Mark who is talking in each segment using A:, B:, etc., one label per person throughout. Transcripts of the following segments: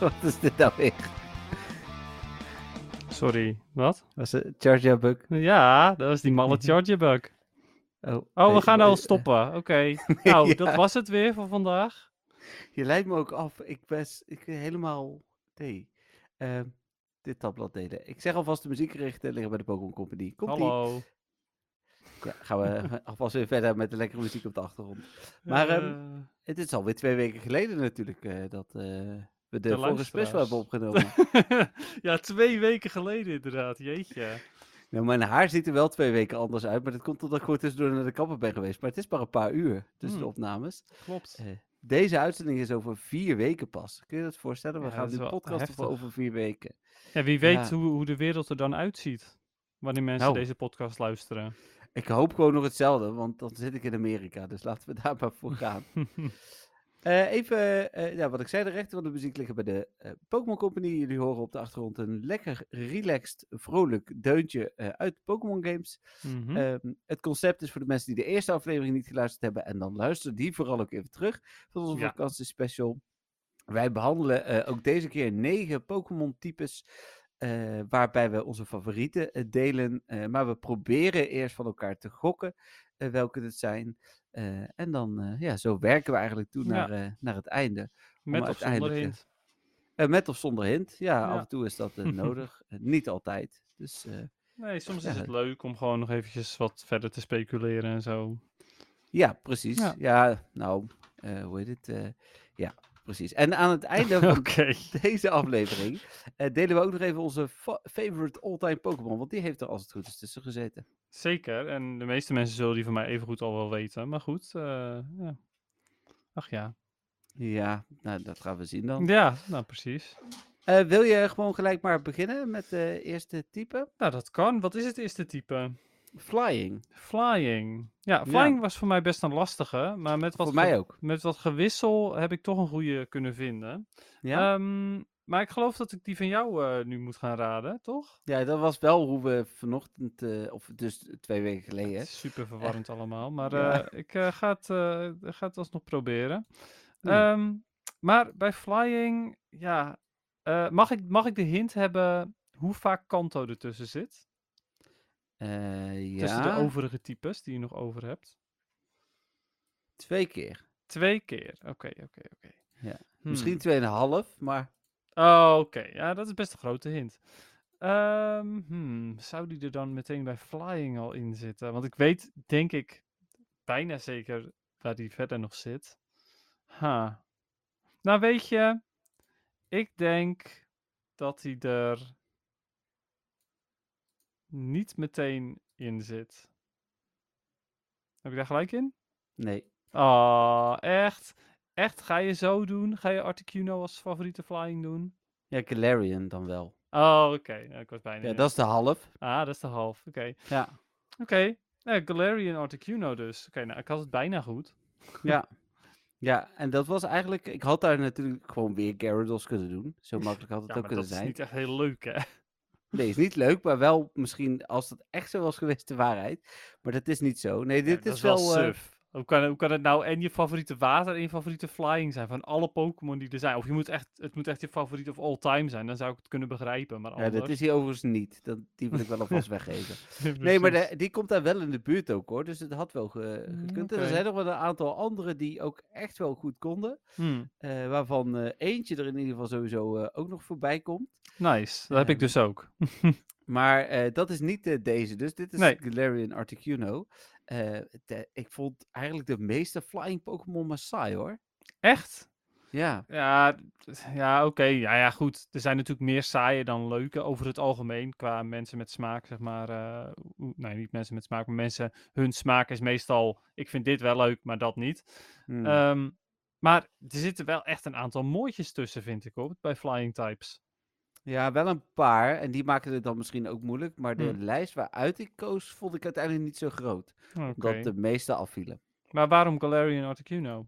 A: Wat is dit nou weer?
B: Sorry, wat?
A: Was het Charge Bug?
B: Ja, dat was die malle chargebug.
A: Oh,
B: Oh,
A: nee,
B: we gaan al
A: nee,
B: stoppen. Oké. Nou,
A: ja.
B: dat was het weer voor vandaag.
A: eh, Je leidt me ook af. Ik ben ik, ben helemaal... Nee. Ehm, dit tabblad delen. Ik zeg alvast de muziekrechten liggen bij de Pokémon Company. Komt
B: Hallo.
A: Ja, gaan we alvast weer verder met de lekkere muziek op de achtergrond. Maar ehm,
B: Eh,
A: het is alweer twee weken geleden natuurlijk eh, dat eh, we de, vorige
B: luisteraars.
A: special hebben opgenomen.
B: Eh, ja, twee weken geleden inderdaad. Jeetje.
A: nou, mijn haar ziet er wel twee weken anders uit. Maar dat komt omdat ik gewoon tussendoor naar de kapper ben geweest. Maar het is maar een paar uur tussen de
B: Hmm.
A: opnames.
B: Klopt.
A: Eh, Deze uitzending is over vier weken pas. Kun je dat voorstellen? We
B: Ja,
A: gaan
B: dat is
A: nu
B: wel
A: podcasten voor
B: heftig.
A: over vier weken.
B: En wie weet
A: ja.
B: hoe, hoe de wereld er dan uitziet. Wanneer mensen
A: Nou.
B: deze podcast luisteren.
A: Ik hoop gewoon nog hetzelfde, want dan zit ik in Amerika. Dus laten we daar maar voor gaan. Eh, even, eh, ja, wat ik zei, de rechten van de muziek liggen bij de eh, Pokémon Company. Jullie horen op de achtergrond een lekker relaxed, vrolijk deuntje eh, uit Pokémon games.
B: Mhm.
A: Ehm, het concept is voor de mensen die de eerste aflevering niet geluisterd hebben. En dan luister die vooral ook even terug. Van onze
B: Ja.
A: vakantiespecial. Wij behandelen eh, ook deze keer negen Pokémon-types. eh, waarbij we onze favorieten eh, delen. eh, maar we proberen eerst van elkaar te gokken eh, welke het zijn. Eh, en dan, eh, ja, zo werken we eigenlijk toe
B: Ja.
A: naar, eh, naar het einde.
B: Met of zonder
A: uiteindelijk, eh,
B: hint.
A: Eh, met of zonder hint. Ja, af
B: Ja.
A: en toe is dat eh, nodig. Eh, niet altijd. Dus eh,
B: Nee, soms
A: ja,
B: is het leuk om gewoon nog eventjes wat verder te speculeren en zo.
A: Ja, precies. Ja,
B: Ja.
A: nou, eh, hoe heet het? eh, ja, precies. En aan het einde
B: Oké.
A: van deze aflevering eh, delen we ook nog even onze fa- favorite all-time Pokémon. Want die heeft er als het goed is tussen gezeten.
B: Zeker, en de meeste mensen zullen die van mij evengoed al wel weten. Maar goed, eh, ja. Ach ja.
A: Ja, nou, dat gaan we zien dan.
B: Ja, nou precies.
A: Eh, wil je gewoon gelijk maar beginnen met de eerste type?
B: Nou, dat kan. Wat is het eerste type?
A: Flying.
B: Flying. Ja, flying was voor mij best een lastige, maar met wat,
A: Voor mij
B: ge-
A: ook.
B: met wat gewissel heb ik toch een goede kunnen vinden.
A: Ja?
B: Ehm, maar ik geloof dat ik die van jou eh, nu moet gaan raden, toch?
A: ja, dat was wel hoe we vanochtend, eh, of dus twee weken geleden.
B: Het is super verwarrend allemaal, maar
A: Ja.
B: eh, ik eh, ga, het, eh, ga het alsnog proberen.
A: Ja.
B: Ehm, maar bij flying, ja, eh, mag, ik, mag ik de hint hebben hoe vaak Kanto ertussen zit?
A: Eh,
B: Tussen de
A: ja,
B: overige types die je nog over hebt?
A: twee keer.
B: Twee keer. Oké, oké, oké.
A: Ja.
B: Hmm.
A: Misschien tweeënhalf, maar
B: Oh, oké. Ja, dat is best een grote hint. Ehm, hmm, zou die er dan meteen bij flying al in zitten? Want ik weet, denk ik, bijna zeker waar die verder nog zit. Ha. Nou, weet je, ik denk dat hij er niet meteen in zit. Heb ik daar gelijk in?
A: nee.
B: Ah, echt? Echt? Ga je zo doen? Ga je Articuno als favoriete flying doen?
A: Ja, Galarian dan wel.
B: Oh, oké. Nou, ik was bijna.
A: Ja,
B: in.
A: dat is de half.
B: Ah, dat is de half. Oké.
A: Ja.
B: Oké. Nou, Galarian Articuno dus. Oké, nou, ik had het bijna goed.
A: ja. Ja, en dat was eigenlijk... Ik had daar natuurlijk gewoon weer Gyarados kunnen doen. Zo makkelijk had het
B: Ja,
A: ook
B: maar dat
A: kunnen
B: is
A: zijn.
B: niet echt heel leuk, hè?
A: Nee, is niet leuk, maar wel misschien als dat echt zo was geweest, de waarheid. Maar dat is niet zo. Nee,
B: Ja,
A: dit
B: dat
A: is wel... eh,
B: suf. Hoe kan, hoe kan het nou en je favoriete water en je favoriete flying zijn van alle Pokémon die er zijn? Of je moet echt, het moet echt je favoriet of all time zijn, dan zou ik het kunnen begrijpen. Maar
A: ja,
B: anders...
A: dat is hij overigens niet. Dat, die wil ik wel alvast weggeven. Nee, maar
B: Precies.
A: de- die komt daar wel in de buurt ook, hoor. Dus het had wel ge-
B: Mm,
A: gekund. En er
B: oké.
A: zijn nog wel een aantal anderen die ook echt wel goed konden.
B: Hmm,
A: eh, waarvan eh, eentje er in ieder geval sowieso eh, ook nog voorbij komt.
B: nice, dat heb ik
A: Ehm,
B: dus ook.
A: Maar eh, dat is niet eh, deze. Dus dit is
B: Nee.
A: Galarian Articuno. Eh, de- ik vond eigenlijk de meeste flying Pokémon maar saai hoor.
B: Echt?
A: Ja.
B: Ja, d- ja oké. Ja, ja, goed. Er zijn natuurlijk meer saaie dan leuke over het algemeen. Qua mensen met smaak, zeg maar. eh, hoe- nee, niet mensen met smaak, maar mensen. Hun smaak is meestal. Ik vind dit wel leuk, maar dat niet.
A: Hmm.
B: Ehm, Maar er zitten wel echt een aantal mooitjes tussen, vind ik, hoor, bij flying types.
A: Ja, wel een paar. En die maken het dan misschien ook moeilijk. Maar de
B: Hmm.
A: lijst waaruit ik koos, vond ik uiteindelijk niet zo groot.
B: Oké.
A: Dat eh, de meeste afvielen.
B: Maar waarom Galarian Articuno?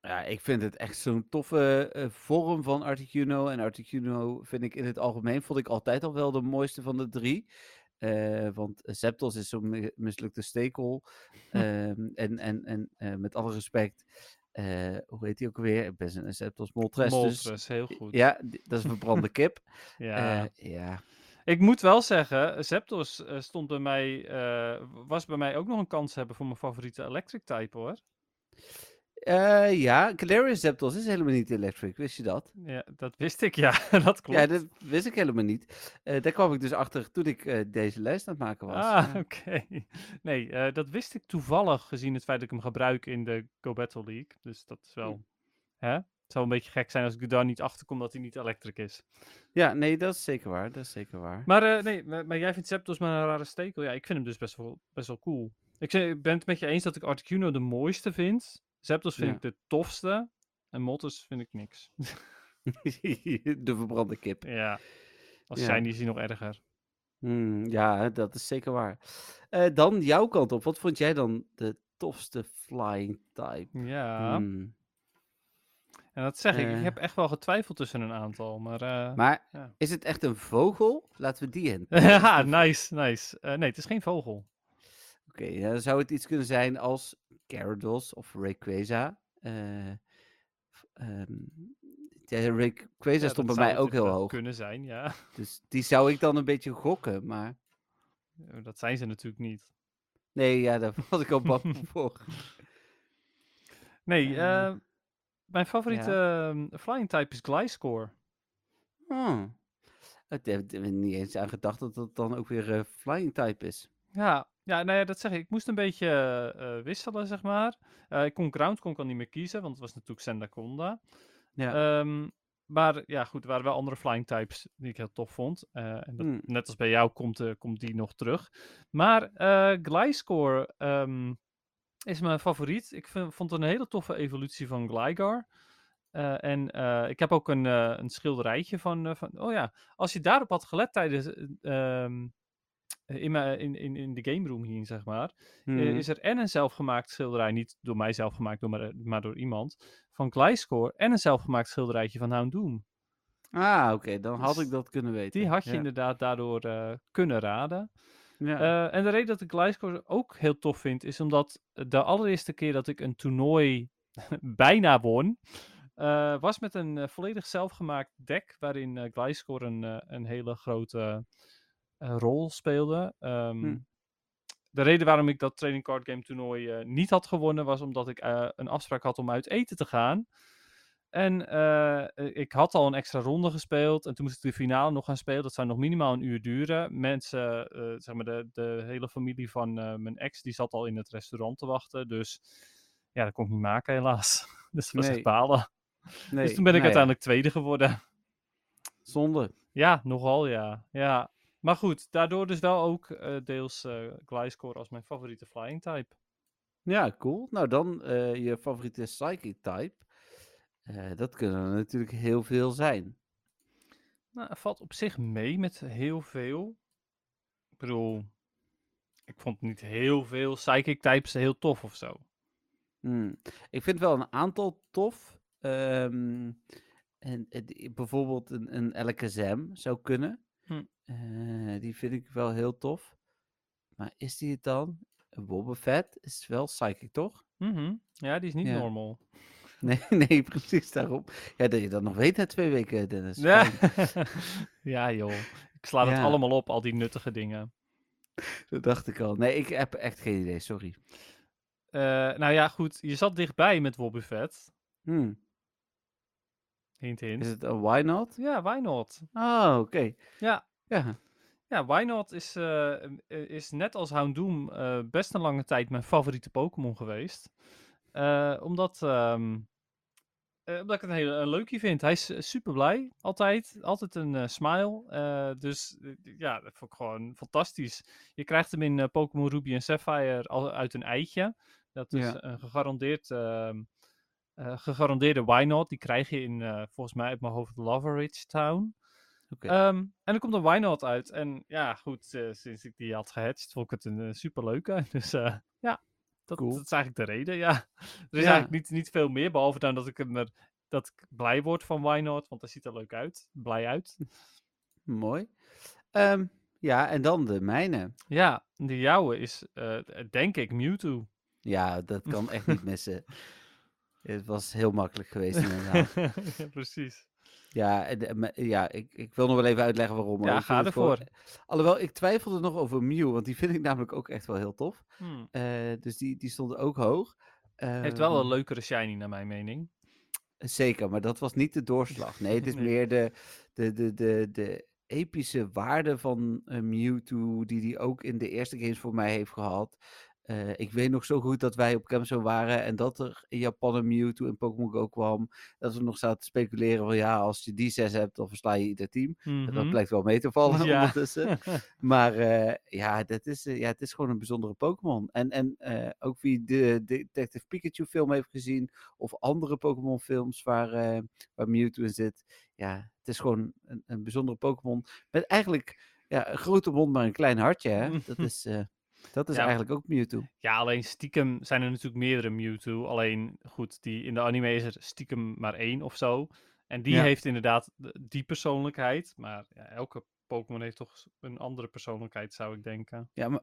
A: Ja, ik vind het echt zo'n toffe eh, vorm van Articuno. En Articuno vind ik in het algemeen, vond ik altijd al wel de mooiste van de drie. Eh, want Septos is zo'n mi- mislukte stekel. Ehm, en en, en eh, met alle respect, eh, hoe heet hij ook weer? Ik ben zijn Septos Moltres. dus-
B: Moltres, heel goed. Ja.
A: Ja, d- dat is een verbrande kip. Eh, ja.
B: Ik moet wel zeggen, Zapdos eh, stond bij mij, eh, was bij mij ook nog een kans hebben voor mijn favoriete electric type hoor.
A: Eh, ja, Galarian Zapdos is helemaal niet electric, wist je dat?
B: Ja, dat wist ik, ja. dat klopt.
A: Ja, dat wist ik helemaal niet. Eh, daar kwam ik dus achter toen ik eh, deze lijst aan het maken was.
B: Ah,
A: Ja.
B: oké. Nee, eh, dat wist ik toevallig gezien het feit dat ik hem gebruik in de Go Battle League. Dus dat is wel...
A: Hm.
B: Hè? Het zou een beetje gek zijn als ik er daar niet achter kom dat hij niet electric is.
A: Ja, nee, dat is zeker waar. Dat is zeker waar.
B: Maar eh, nee, maar, maar jij vindt Zapdos maar een rare stekel. Ja, ik vind hem dus best wel, best wel cool. Ik, zeg- ik ben het met je eens dat ik Articuno de mooiste vind. Zapdos vind
A: Ja.
B: ik de tofste. En Moltres vind ik niks.
A: de verbrande kip.
B: ja. Als
A: Ja.
B: zijn die is hij nog erger.
A: Hmm, ja, dat is zeker waar. Eh, dan jouw kant op. Wat vond jij dan de tofste flying type?
B: Ja.
A: Hmm.
B: En dat zeg ik. Ik
A: Eh.
B: heb echt wel getwijfeld tussen een aantal. Maar, eh,
A: Maar
B: ja.
A: is het echt een vogel? Laten we die in.
B: Ja, nice, nice. Eh, nee, het is geen vogel.
A: Oké, ja, dan zou het iets kunnen zijn als Gyarados of Rayquaza. Eh, f- ehm, ja, Rayquaza
B: Ja,
A: stond bij
B: dat
A: mij
B: zou
A: ook heel
B: natuurlijk
A: hoog.
B: kunnen zijn, ja.
A: Dus die zou ik dan een beetje gokken. Maar
B: Oh, Dat zijn ze natuurlijk niet.
A: nee, ja, daar was ik al bang voor.
B: Nee,
A: Eh,
B: eh, mijn favoriete eh, flying type is Gliscor.
A: Hmm. Het heeft er niet eens aan gedacht dat dat dan ook weer eh, flying type is.
B: Ja, ja, nou ja, dat zeg ik. Ik moest een beetje eh, eh, wisselen, zeg maar. Eh, ik kon Ground kon ik al niet meer kiezen, want het was natuurlijk Sendaconda.
A: Ja.
B: Ehm, maar ja, goed, er waren wel andere flying types die ik heel tof vond. Eh, en dat,
A: Hmm.
B: Net als bij jou komt, eh, komt die nog terug. Maar eh Gliscor ehm, is mijn favoriet. Ik vind- vond het een hele toffe evolutie van Gligar. Eh, en eh, ik heb ook een, eh, een schilderijtje van, eh, van... Oh ja, als je daarop had gelet tijdens... eh, ehm, in, mijn- in, in, in de game room hier, zeg maar eh,
A: Hmm.
B: is er en een zelfgemaakt schilderij, niet door mij zelf gemaakt, door, maar, eh, maar door iemand, van Gliscor en een zelfgemaakt schilderijtje van Houndoom.
A: Ah, oké, dan had
B: Dus
A: ik dat kunnen weten.
B: Die had je
A: Ja,
B: inderdaad daardoor eh, kunnen raden.
A: ja.
B: Eh, en de reden dat ik Gliscor ook heel tof vind, is omdat de allereerste keer dat ik een toernooi bijna won, eh, was met een eh, volledig zelfgemaakt deck, waarin eh Gliscor een, eh, een hele grote eh, rol speelde. Ehm,
A: Hm.
B: De reden waarom ik dat training card game toernooi eh, niet had gewonnen, was omdat ik eh, een afspraak had om uit eten te gaan. En eh, eh, ik had al een extra ronde gespeeld. En toen moest ik de finale nog gaan spelen. Dat zou nog minimaal een uur duren. Mensen, eh, zeg maar, de, de hele familie van eh, mijn ex, die zat al in het restaurant te wachten. Dus ja, dat kon ik niet maken, helaas. Dus dat was
A: Nee.
B: echt balen.
A: Nee,
B: Dus toen ben ik
A: nou ja,
B: uiteindelijk tweede geworden.
A: Zonde.
B: Ja, nogal ja. ja. Maar goed, daardoor dus wel ook eh, deels eh Gliscor als mijn favoriete flying type.
A: Ja, cool. Nou, dan eh, je favoriete psychic type. Eh, dat kunnen er natuurlijk heel veel zijn.
B: Nou, het valt op zich mee met heel veel. Ik bedoel, ik vond niet heel veel psychic types heel tof of zo.
A: Hmm. Ik vind wel een aantal tof. Ehm, en, eh, die- bijvoorbeeld een, een LKSM zou kunnen.
B: Hm.
A: Eh, die vind ik wel heel tof. Maar is die het dan? Boba Fett is wel psychic, toch?
B: Mhm. Ja, die is niet
A: Ja.
B: normal.
A: Nee, nee, precies daarom. Ja, dat je dat nog weet na twee weken, Dennis.
B: Ja.
A: Fijn.
B: ja joh, ik sla dat
A: Ja.
B: allemaal op, al die nuttige dingen.
A: Dat dacht ik al. Nee, ik heb echt geen idee, sorry.
B: Eh, nou ja, goed, je zat dichtbij met Wobbuffet.
A: Hmm.
B: Hint,
A: Is
B: hint.
A: het een why not?
B: Ja, why not?
A: Oh, oké.
B: Ja.
A: Ja.
B: Ja, Why Not is, eh, em, eh, is net als Houndoom eh, best een lange tijd mijn favoriete Pokémon geweest. Eh, omdat, ehm, eh, omdat ik het een hele een leukie vind. Hij is super blij, altijd. Altijd een eh, smile. Eh, dus eh, ja, dat vond ik gewoon fantastisch. Je krijgt hem in eh, Pokémon Ruby en Sapphire al uit een eitje. Dat is
A: Ja.
B: een gegarandeerd ehm, eh, gegarandeerde Why Not. Die krijg je in, eh, volgens mij uit mijn hoofd, Loveridge Town.
A: Oké.
B: Ehm, en er komt een Why Not uit. En ja, goed, eh, sinds ik die had gehatcht, vond ik het een eh, superleuke. Dus eh, ja, dat,
A: Cool.
B: dat is eigenlijk de reden. Ja. Er is
A: Ja.
B: eigenlijk niet, niet veel meer, behalve dan dat ik, hem er, dat ik blij word van Why Not. Want dat ziet er leuk uit. Blij
A: Hm.
B: uit.
A: Mooi. Ehm, ja, en dan de mijne.
B: Ja, de jouwe is, eh, denk ik, Mewtwo.
A: Ja, dat kan echt niet missen. Het was heel makkelijk geweest inderdaad.
B: Ja, precies.
A: Ja, en, eh, me- ja ik, ik wil nog wel even uitleggen waarom. hoor.
B: Ja,
A: Ik vind
B: ga
A: het gewoon-
B: ervoor.
A: Alhoewel, ik twijfelde nog over Mew, want die vind ik namelijk ook echt wel heel tof.
B: Hmm.
A: Eh, dus die, die stond ook hoog.
B: Heeft wel een
A: Ehm,
B: leukere shiny, naar mijn mening.
A: Zeker, maar dat was niet de doorslag. Nee, het is
B: Nee.
A: meer de, de, de, de, de epische waarde van eh, Mewtwo, die hij ook in de eerste games voor mij heeft gehad. Eh, ik weet nog zo goed dat wij op Camso waren en dat er in Japan een Mewtwo in Pokémon Go kwam. Dat we nog zaten te speculeren van ja, als je die zes hebt, dan versla je ieder team. Dat
B: Mhm.
A: blijkt wel mee te vallen
B: Ja.
A: ondertussen. Maar eh, ja, dat is, eh, ja, het is gewoon een bijzondere Pokémon. En, en eh, ook wie de Detective Pikachu film heeft gezien, of andere Pokémon films waar, eh, waar Mewtwo in zit. Ja, het is gewoon een, een bijzondere Pokémon. Met eigenlijk ja, een grote mond, maar een klein hartje. Hè? Dat is, eh, dat is
B: Ja.
A: eigenlijk ook Mewtwo.
B: ja, alleen stiekem zijn er natuurlijk meerdere Mewtwo. Alleen, goed, die in de anime is er stiekem maar één of zo. En die
A: Ja.
B: heeft inderdaad de- die persoonlijkheid. Maar ja, elke Pokémon heeft toch s- een andere persoonlijkheid, zou ik denken.
A: Ja, maar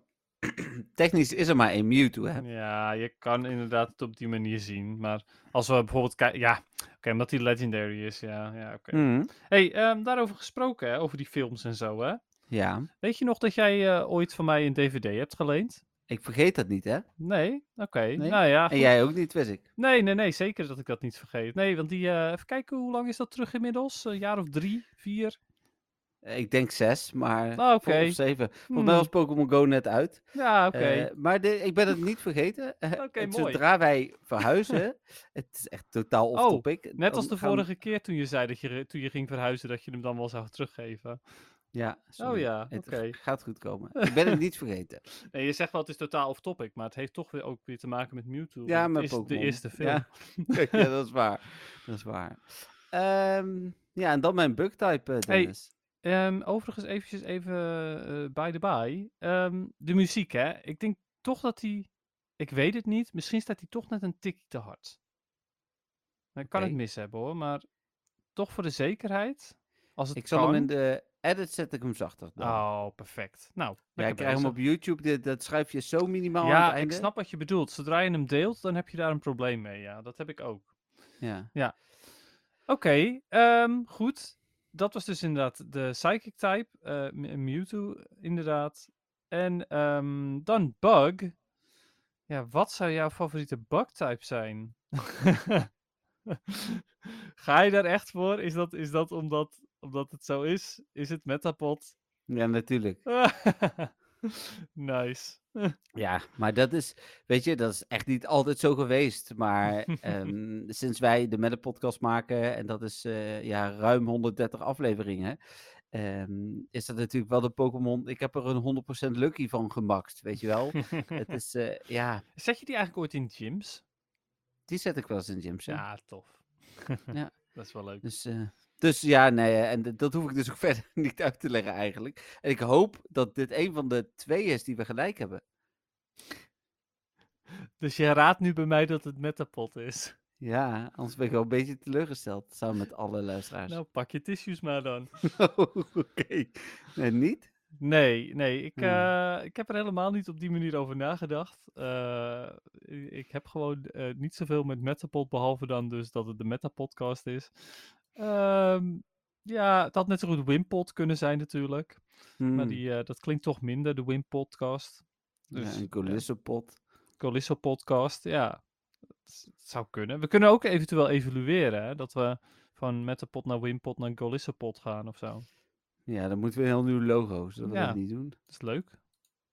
A: technisch is er maar één Mewtwo. Hè?
B: Ja, je kan inderdaad het op die manier zien. Maar als we bijvoorbeeld kijken... Ja, oké, omdat die legendary is, ja. ja oké.
A: Mhm.
B: hey, ehm, daarover gesproken, hè, over die films en zo, hè.
A: Ja,
B: Weet je nog dat jij eh, ooit van mij een DVD hebt geleend?
A: ik vergeet dat niet, hè?
B: Nee, oké.
A: Nee?
B: Nou ja,
A: En
B: Ah, goed.
A: jij ook niet, wist ik.
B: Nee, nee, nee, zeker dat ik dat niet vergeet. Nee, want die, eh, even kijken, hoe lang is dat terug inmiddels? Een jaar of drie, vier?
A: Eh, Ik denk zes, maar...
B: Nou, oké.
A: vol- Of zeven. Volgens mij
B: Hmm.
A: was Pokémon Go net uit.
B: Ja, oké.
A: Eh, maar de- ik ben het niet vergeten. Eh,
B: Oké,
A: en
B: mooi.
A: Zodra wij verhuizen, het is echt totaal
B: Oh,
A: off-topic.
B: Net als
A: dan
B: de
A: gaan we-
B: vorige keer toen je zei dat je, toen je ging verhuizen, dat je hem dan wel zou teruggeven.
A: Ja, sorry.
B: Oh ja,
A: Het
B: oké.
A: gaat goed komen. Ik ben het niet vergeten.
B: Nee, je zegt wel, het is totaal off-topic, maar het heeft toch weer ook weer te maken met Mewtwo.
A: Ja,
B: want
A: met
B: het is de
A: Pokémon.
B: eerste film.
A: Ja. Kijk, ja, dat is waar. Dat is waar. Ehm, ja, en dan mijn bugtype, eh,
B: Hey,
A: Dennis.
B: Ehm, overigens, eventjes even eh by the by. Ehm, de muziek, hè. Ik denk toch dat die... Ik weet het niet. Misschien staat die toch net een tikje te hard. Ik kan het
A: Oké.
B: mis hebben, hoor. Maar toch voor de zekerheid. Als het
A: ik zal
B: kan.
A: hem in de edit zet ik hem zachter. Dan.
B: Oh, perfect. Nou,
A: ja, ik
B: lekker
A: krijg hem op
B: bezig.
A: YouTube. Dit, dat schrijf je zo minimaal aan het
B: Ja, ik
A: einde.
B: snap wat je bedoelt. Zodra je hem deelt, dan heb je daar een probleem mee. Ja, dat heb ik ook.
A: Ja.
B: Oké, ehm, goed. Dat was dus inderdaad de Psychic type, eh, M- Mewtwo inderdaad. En ehm, dan Bug. Ja, wat zou jouw favoriete Bug type zijn? Ga je daar echt voor? Is dat, is dat omdat, omdat het zo is? Is het Metapod?
A: ja, natuurlijk.
B: nice.
A: Ja, maar dat is, weet je, dat is echt niet altijd zo geweest. Maar ehm, sinds wij de Melle podcast maken, en dat is eh, ja, ruim 130 afleveringen, ehm, is dat natuurlijk wel de Pokémon. Ik heb er een 100% lucky van gemaxt, weet je wel. Het is, eh, ja,
B: Zet je die eigenlijk ooit in gyms?
A: die zet ik wel eens in gyms. hè.
B: Ja, tof.
A: Ja.
B: Dat is wel leuk.
A: Dus, eh, dus ja, nee, en d- dat hoef ik dus ook verder niet uit te leggen eigenlijk. En ik hoop dat dit een van de twee is die we gelijk hebben.
B: Dus je raadt nu bij mij dat het Metapod is.
A: Ja, anders ben ik wel een beetje teleurgesteld, samen met alle luisteraars.
B: Nou, pak je tissues maar dan.
A: Oh, Oké. Nee, niet?
B: Nee, nee, ik,
A: Hmm. Ja.
B: eh, ik heb er helemaal niet op die manier over nagedacht. Eh, i- ik heb gewoon eh, niet zoveel met Metapod, behalve dan dus dat het de Metapodcast is. Ehm, ja, het had net zo goed Wimpod kunnen zijn natuurlijk. Maar
A: Hmm.
B: die, eh, dat klinkt toch minder, de Wimpodcast. Dus,
A: ja, een
B: ja.
A: coulissenpot.
B: Colisso podcast. Ja, het, het zou kunnen. We kunnen ook eventueel evalueren. Hè? Dat we van met de pot naar Wimpot naar Colisso pot gaan of zo.
A: Ja, dan moeten we een heel nieuw logo. Zullen we
B: Ja.
A: dat niet doen?
B: Dat is leuk.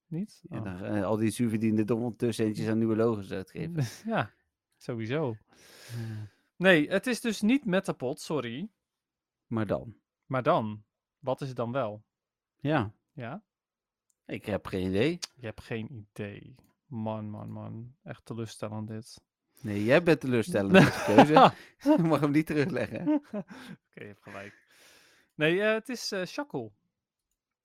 B: Niet?
A: Ja,
B: Oh.
A: dan, eh, al die zuurverdiende tussenentjes aan nieuwe logo's uitgeven.
B: ja, sowieso. Nee, het is dus niet met de pot, sorry.
A: Maar dan.
B: Maar dan, wat is het dan wel?
A: Ja,
B: Ja,
A: ik heb geen idee.
B: je hebt geen idee. Man, man, man. Echt teleurstellend dit.
A: Nee, jij bent teleurstellend met je keuze. Je mag hem niet terugleggen. hè?
B: Oké, je hebt gelijk. Nee, eh, het is eh Shackle.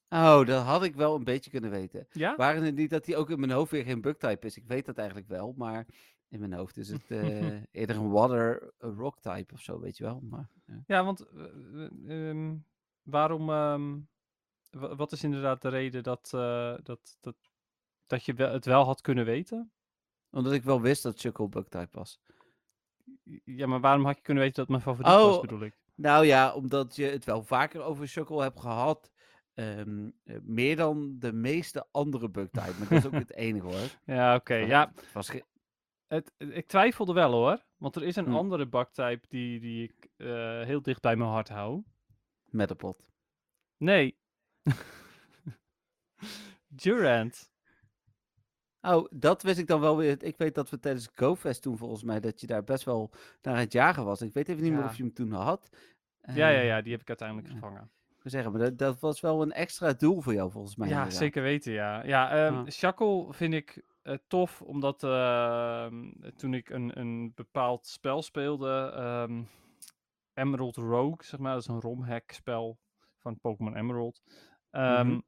A: Oh, dat had ik wel een beetje kunnen weten.
B: Ja?
A: Waren het niet dat hij ook in mijn hoofd weer geen bugtype is? Ik weet dat eigenlijk wel, maar in mijn hoofd is het eh, eerder een water een rock type of zo, weet je wel. Maar, ja.
B: Ja, want eh, eh, ehm, waarom... ehm, wa- wat is inderdaad de reden dat, eh, dat, dat, dat je wel, het wel had kunnen weten?
A: Omdat ik wel wist dat Chuckle bugtype was.
B: Ja, maar waarom had je kunnen weten dat het mijn favoriet was,
A: Oh,
B: bedoel ik?
A: Nou ja, omdat je het wel vaker over Chuckle hebt gehad. ehm, eh, meer dan de meeste andere bugtype. Maar dat is ook het enige hoor.
B: Ja, oké.
A: Maar
B: ja,
A: het was ge-
B: Het, ik twijfelde wel hoor. Want er is een
A: Hm.
B: andere baktype die, die ik eh, heel dicht bij mijn hart hou.
A: met een pot.
B: Nee. Durant.
A: Oh, dat wist ik dan wel weer. Ik weet dat we tijdens GoFest toen volgens mij dat je daar best wel naar aan het jagen was. Ik weet even niet meer
B: Ja.
A: of je hem toen had.
B: ja, ja,
A: Eh,
B: ja, die heb ik uiteindelijk
A: ja.
B: gevangen.
A: ik wil zeggen, maar dat, dat was wel een extra doel voor jou volgens mij.
B: ja,
A: inderdaad.
B: zeker weten, ja. Ja, ehm
A: Ja.
B: Shackle vind ik eh, tof, omdat ehm, toen ik een, een bepaald spel speelde, ehm, Emerald Rogue, zeg maar, dat is een romhack spel van Pokémon Emerald. Ehm,
A: Mhm.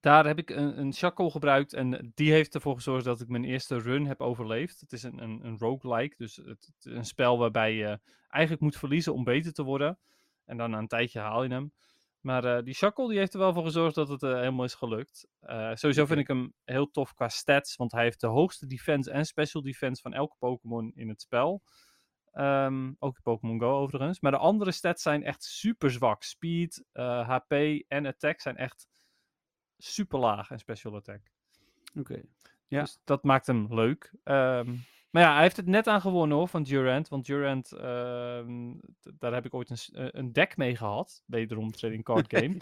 B: Daar heb ik een, een Shackle gebruikt en die heeft ervoor gezorgd dat ik mijn eerste run heb overleefd. Het is een, een, een roguelike, dus het, het- een spel waarbij je eigenlijk moet verliezen om beter te worden. En dan na een tijdje haal je hem. Maar eh, die Shackle die heeft er wel voor gezorgd dat het eh, helemaal is gelukt. Eh, sowieso vind ik hem heel tof qua stats, want hij heeft de hoogste defense en special defense van elke Pokémon in het spel. Ehm, ook in Pokémon Go overigens. Maar de andere stats zijn echt super zwak. Speed, eh, HP en attack zijn echt super laag en special attack.
A: Oké. Ja.
B: Dus dat maakt hem leuk. Ehm, maar ja, hij heeft het net aan gewonnen hoor, van Durant. Want Durant, ehm, d- daar heb ik ooit een, s- eh, een deck mee gehad. Wederom trading card game.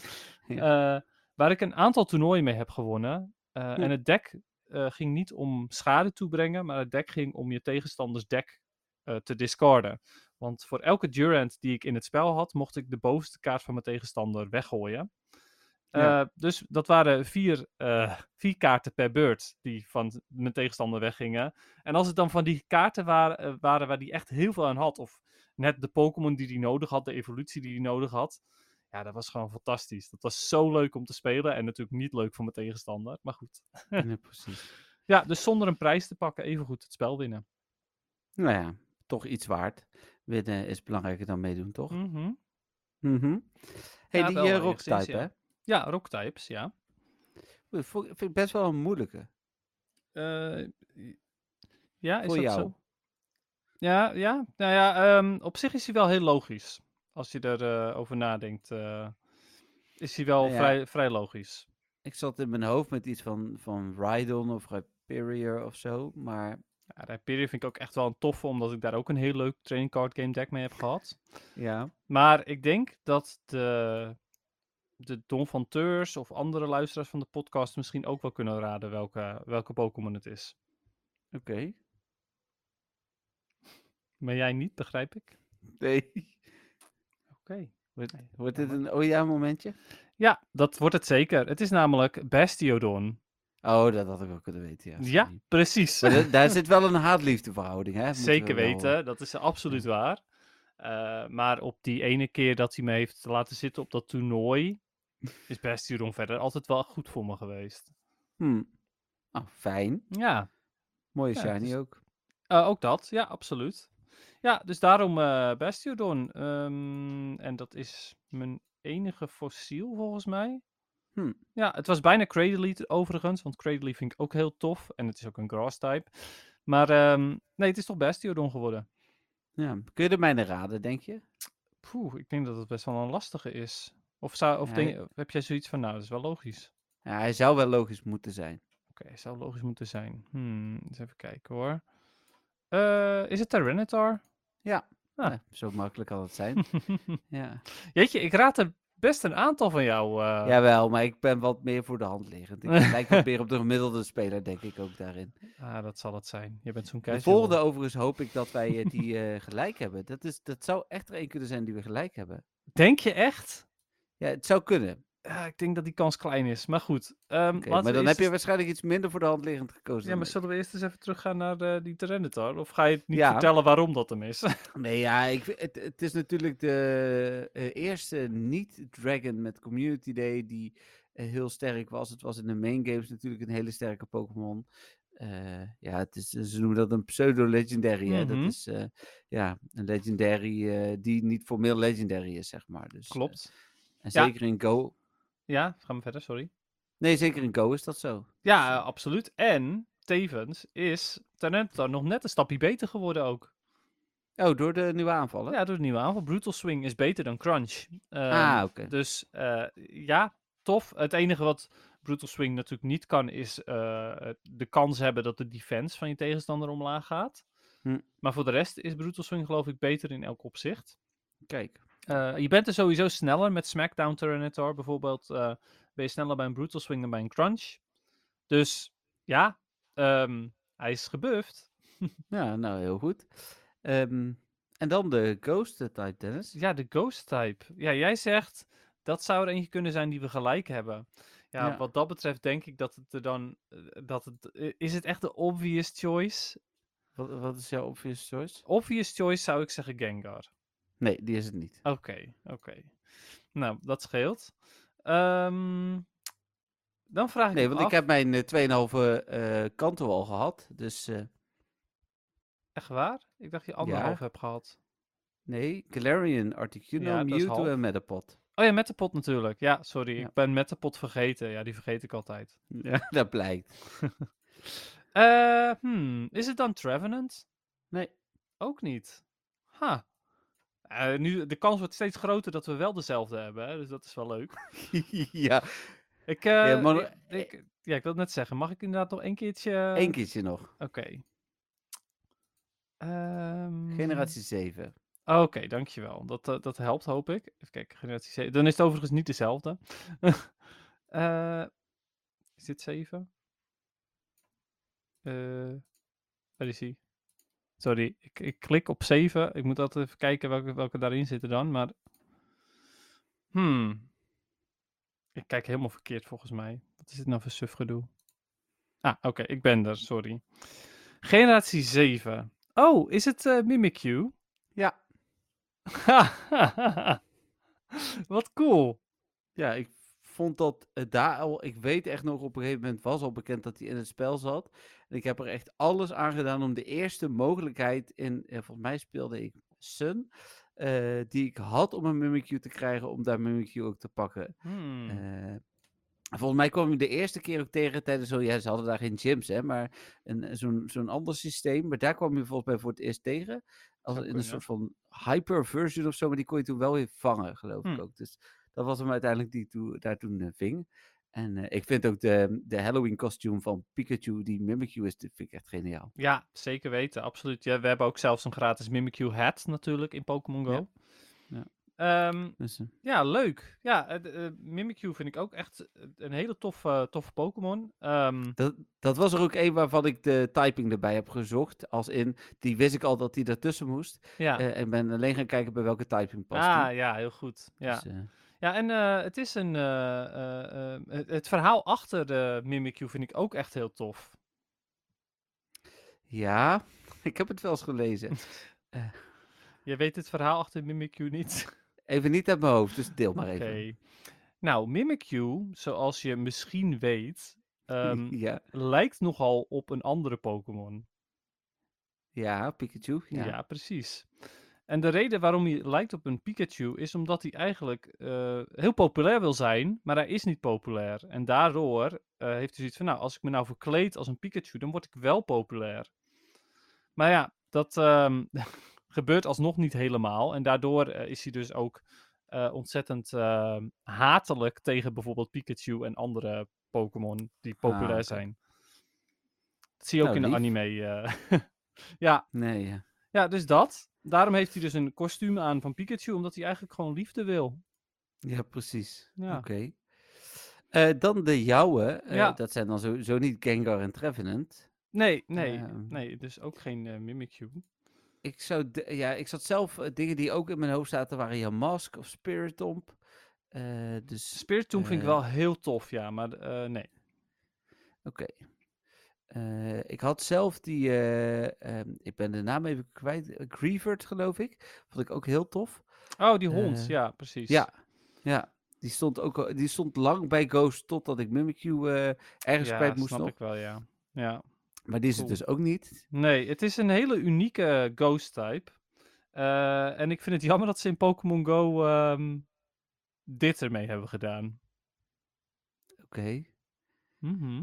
B: Eh, waar ik een aantal toernooien mee heb gewonnen. Eh, En het deck eh, ging niet om schade toebrengen, maar het deck ging om je tegenstanders deck eh, te discarden. Want voor elke Durant die ik in het spel had, mocht ik de bovenste kaart van mijn tegenstander weggooien.
A: Ja.
B: Eh, dus dat waren vier, eh, vier kaarten per beurt die van mijn tegenstander weggingen. En als het dan van die kaarten waren, eh, waren waar die echt heel veel aan had, of net de Pokémon die hij nodig had, de evolutie die hij nodig had, ja, dat was gewoon fantastisch. Dat was zo leuk om te spelen en natuurlijk niet leuk voor mijn tegenstander, maar goed.
A: Ja, precies.
B: Ja, dus zonder een prijs te pakken, evengoed het spel winnen.
A: Nou ja, toch iets waard. Winnen is belangrijker dan meedoen, toch?
B: Mhm.
A: Mhm. Hey,
B: Ja,
A: die
B: wel
A: eh,
B: enigszins,
A: rocktype,
B: ja.
A: hè?
B: Ja, rocktypes, ja.
A: Oeh, vo- Vind ik best wel een moeilijke.
B: Eh, i- ja, is
A: Voor
B: dat
A: jou.
B: zo? Ja, ja. Nou ja, ehm, op zich is hij wel heel logisch. Als je erover over nadenkt, eh, is hij wel
A: Nou ja.
B: vrij, vrij logisch.
A: Ik zat in mijn hoofd met iets van, van Rhydon of Hyperior of zo, maar
B: Ja, Rhyperior vind ik ook echt wel een toffe, omdat ik daar ook een heel leuk training card game deck mee heb gehad.
A: ja.
B: Maar ik denk dat de, de Don van Teurs of andere luisteraars van de podcast misschien ook wel kunnen raden welke, welke Pokémon het is.
A: Oké.
B: Maar jij niet, begrijp ik.
A: Nee.
B: Oké.
A: Wordt,
B: Nee,
A: wordt dit
B: jammer.
A: een oh ja momentje?
B: Ja, dat wordt het zeker. Het is namelijk Bastiodon.
A: Oh, dat had ik wel kunnen weten, ja.
B: Ja,
A: sorry.
B: precies.
A: Maar da- daar zit wel een haatliefdeverhouding, hè? moeten we
B: Zeker
A: wel, eh,
B: weten, dat is absoluut waar. Eh, maar op die ene keer dat hij me heeft laten zitten op dat toernooi, is Bastiodon verder altijd wel goed voor me geweest.
A: hmm. Ah, fijn.
B: Ja,
A: Mooie
B: Ja, het
A: shiny
B: is-
A: ook.
B: Eh, ook dat, ja, absoluut. Ja, dus daarom eh Bastiodon. Ehm, en dat is mijn enige fossiel volgens mij.
A: Hm.
B: Ja, het was bijna Cradily t- overigens, want Cradily vind ik ook heel tof. En het is ook een grass type. Maar ehm, nee, het is toch Bastiodon geworden.
A: Ja. Kun je er mijne raden, denk je?
B: Poeh, ik denk dat het best wel een lastige is. Of, zou, of
A: Ja,
B: denk, je- heb jij zoiets van, nou, dat is wel logisch.
A: Ja, hij zou wel logisch moeten zijn.
B: Oké, zou logisch moeten zijn. Hmm, eens even kijken hoor. Eh, is het Tyranitar? Ah.
A: Ja, zo makkelijk kan het zijn. ja.
B: Jeetje, ik raad er best een aantal van jou. eh.
A: Jawel, maar ik ben wat meer voor de hand liggend. Ik lijk wat meer op de gemiddelde speler, denk ik ook daarin.
B: Ah, dat zal het zijn. Je bent zo'n
A: De
B: keizer.
A: volgende overigens hoop ik dat wij eh, die eh, gelijk hebben. Dat, is, dat zou echt er één kunnen zijn die we gelijk hebben.
B: Denk je echt?
A: Ja, het zou kunnen.
B: ah, ik denk dat die kans klein is. Maar goed. ehm,
A: Oké,
B: laten
A: maar
B: we
A: dan heb
B: eerst
A: je
B: eens-
A: waarschijnlijk iets minder voor de hand liggend gekozen.
B: Ja, maar
A: dan
B: zullen we eerst eens even teruggaan naar eh, die Terrenator? Of ga je het niet
A: Ja.
B: vertellen waarom dat hem is?
A: ik. Nee, ja, ik, vind- het, het is natuurlijk de eh, eerste niet-dragon met Community Day die eh, heel sterk was. Het was in de main games natuurlijk een hele sterke Pokémon. Eh, ja, het is, ze noemen dat een pseudo-legendary. hè.
B: Mhm.
A: Dat is eh, ja, een legendary eh, die niet formeel legendary is, zeg maar. Dus, eh,
B: Klopt.
A: en
B: Ja.
A: zeker in Go.
B: Ja, ga maar verder, sorry.
A: Nee, zeker in Go is dat zo.
B: Ja, eh, absoluut. En tevens is Terrenator nog net een stapje beter geworden ook.
A: Oh, door de nieuwe aanvallen?
B: Ja, door de nieuwe aanval. Brutal Swing is beter dan Crunch. Ehm,
A: ah, oké.
B: Dus eh, ja, tof. Het enige wat Brutal Swing natuurlijk niet kan, is eh, het- de kans hebben dat de defense van je tegenstander omlaag gaat.
A: Hm.
B: Maar voor de rest is Brutal Swing geloof ik beter in elk opzicht.
A: Kijk.
B: Eh, je bent er sowieso sneller met Smackdown Terminator. Bijvoorbeeld eh, ben je sneller bij een Brutal Swing dan bij een Crunch. Dus ja, ehm, hij is gebufft.
A: Ja, nou, heel goed. Ehm, en dan de Ghost Type Tennis.
B: Ja, de Ghost type. Ja, jij zegt dat zou er eentje kunnen zijn die we gelijk hebben. Ja,
A: Ja.
B: wat dat betreft denk ik dat het er dan... eh, Dat het, eh, is het echt de obvious choice?
A: Wat, wat is jouw obvious choice?
B: Obvious choice zou ik zeggen Gengar.
A: Nee, die is het niet.
B: Oké, oké. Nou, dat scheelt. Ehm, dan vraag ik
A: Nee,
B: me
A: want ik
B: af-
A: heb mijn eh, 2,5 eh kanto al gehad. Dus eh,
B: Echt waar? Ik dacht je anderhalf hebt gehad.
A: nee, Galarian, Articuno,
B: Ja, dat is
A: Mewtwo
B: half.
A: en Metapod.
B: Oh ja, met de pot natuurlijk. Ja, sorry.
A: Ja.
B: Ik ben met de pot vergeten. Ja, die vergeet ik altijd.
A: Ja, dat blijkt.
B: Eh, hmm, is het dan Trevenant?
A: Nee.
B: Ook niet. Ha. Eh, nu, de kans wordt steeds groter dat we wel dezelfde hebben. Hè? Dus dat is wel leuk.
A: ja,
B: Ik, eh,
A: Ja, maar-
B: ik, ik- ja, ik wil het net zeggen. Mag ik inderdaad nog een keertje...
A: één keertje nog.
B: Oké. Ehm,
A: Generatie 7.
B: Oké, dankjewel. Dat, eh, dat helpt, hoop ik. Even kijken, generatie 7. Dan is het overigens niet dezelfde. Eh, is dit 7? Eh, waar is die? Sorry, ik, ik klik op 7. Ik moet altijd even kijken welke, welke daarin zitten dan, maar... Hmm. Ik kijk helemaal verkeerd volgens mij. Wat is dit nou voor suf gedoe? Ah, oké, ik ben er, sorry. Generatie 7. Oh, is het eh Mimikyu?
A: Ja.
B: Wat cool.
A: Ja, ik vond dat eh, daar al. Ik weet echt nog, op een gegeven moment was al bekend dat hij in het spel zat. En ik heb er echt alles aan gedaan om de eerste mogelijkheid in. eh, volgens mij speelde ik Sun. eh, die ik had om een Mimikyu te krijgen, om daar Mimikyu ook te pakken.
B: Hmm.
A: Eh, volgens mij kwam je de eerste keer ook tegen tijdens zo. Ja, ze hadden daar geen gyms, hè, maar een- eh, zo'n zo'n ander systeem. Maar daar kwam je volgens mij voor het eerst tegen. Als
B: Zou
A: in een
B: kunnen.
A: soort van hyper version of zo, maar die kon je toen wel weer vangen, geloof ik
B: Hmm.
A: ook. Dus dat was hem uiteindelijk die ik toe- daar toen eh, ving. En eh, ik vind ook de, de Halloween kostuum van Pikachu, die Mimikyu is, dat vind ik echt geniaal.
B: Ja, zeker weten, absoluut. Ja, we hebben ook zelfs een gratis Mimikyu hat natuurlijk in
A: Ja.
B: Pokémon Go.
A: Ja.
B: Ja.
A: Dus, eh,
B: ja, leuk. Ja, eh, d- eh, Mimikyu vind ik ook echt eh, een hele toffe, toffe Pokémon. Ehm,
A: dat, dat was er ook een waarvan ik de typing erbij heb gezocht. Als in, die wist ik al dat die daartussen moest.
B: ja.
A: Eh, en ben alleen gaan kijken bij welke typing past. die.
B: ah, ja, heel goed. Ja,
A: Dus, eh,
B: ja en eh, het is een... eh, eh, eh, het, het verhaal achter de Mimikyu vind ik ook echt heel tof.
A: ja, ik heb het wel eens gelezen.
B: Je weet het verhaal achter Mimikyu niet.
A: Even niet uit mijn hoofd, dus deel maar
B: Oké.
A: even.
B: Nou, Mimikyu, zoals je misschien weet, ehm,
A: ja,
B: lijkt nogal op een andere Pokémon.
A: ja, Pikachu.
B: Ja.
A: Ja.
B: precies. En de reden waarom hij lijkt op een Pikachu is omdat hij eigenlijk eh, heel populair wil zijn, maar hij is niet populair. En daardoor eh, heeft hij zoiets van, nou, als ik me nou verkleed als een Pikachu, dan word ik wel populair. Maar ja, dat ehm, gebeurt alsnog niet helemaal. En daardoor eh, is hij dus ook eh, ontzettend ehm, hatelijk tegen bijvoorbeeld Pikachu en andere Pokémon die populair
A: Ah, oké.
B: zijn. Dat zie je ook
A: Nou,
B: in de
A: lief.
B: anime. eh. ja,
A: Nee, ja.
B: ja, dus dat. Daarom heeft hij dus een kostuum aan van Pikachu, omdat hij eigenlijk gewoon liefde wil.
A: ja, precies.
B: Ja.
A: Oké. Eh, dan de jouwe. eh,
B: Ja.
A: Dat zijn dan sowieso niet Gengar en Trevenant.
B: Nee, nee,
A: Ja.
B: nee, dus ook geen eh, Mimikyu.
A: Ik, zou de- ja, ik zat zelf, eh, dingen die ook in mijn hoofd zaten waren Yamask of Spiritomb. Eh, dus
B: Spiritomb vind ik
A: Eh.
B: wel heel tof, ja, maar eh, nee.
A: Oké. Eh, ik had zelf die, eh, ehm, ik ben de naam even kwijt, eh, Grievert geloof ik. Vond ik ook heel tof.
B: Oh, die hond,
A: Eh,
B: ja, precies.
A: Ja, ja. Die stond, ook, al- die stond lang bij Ghost totdat ik Mimikyu eh, ergens
B: ja,
A: kwijt moest
B: snap
A: nog.
B: ik wel, ja. ja.
A: Maar die is het
B: Cool.
A: dus ook niet.
B: Nee, het is een hele unieke ghost type. Eh, en ik vind het jammer dat ze in Pokémon Go ehm, dit ermee hebben gedaan.
A: Oké,
B: Mhm.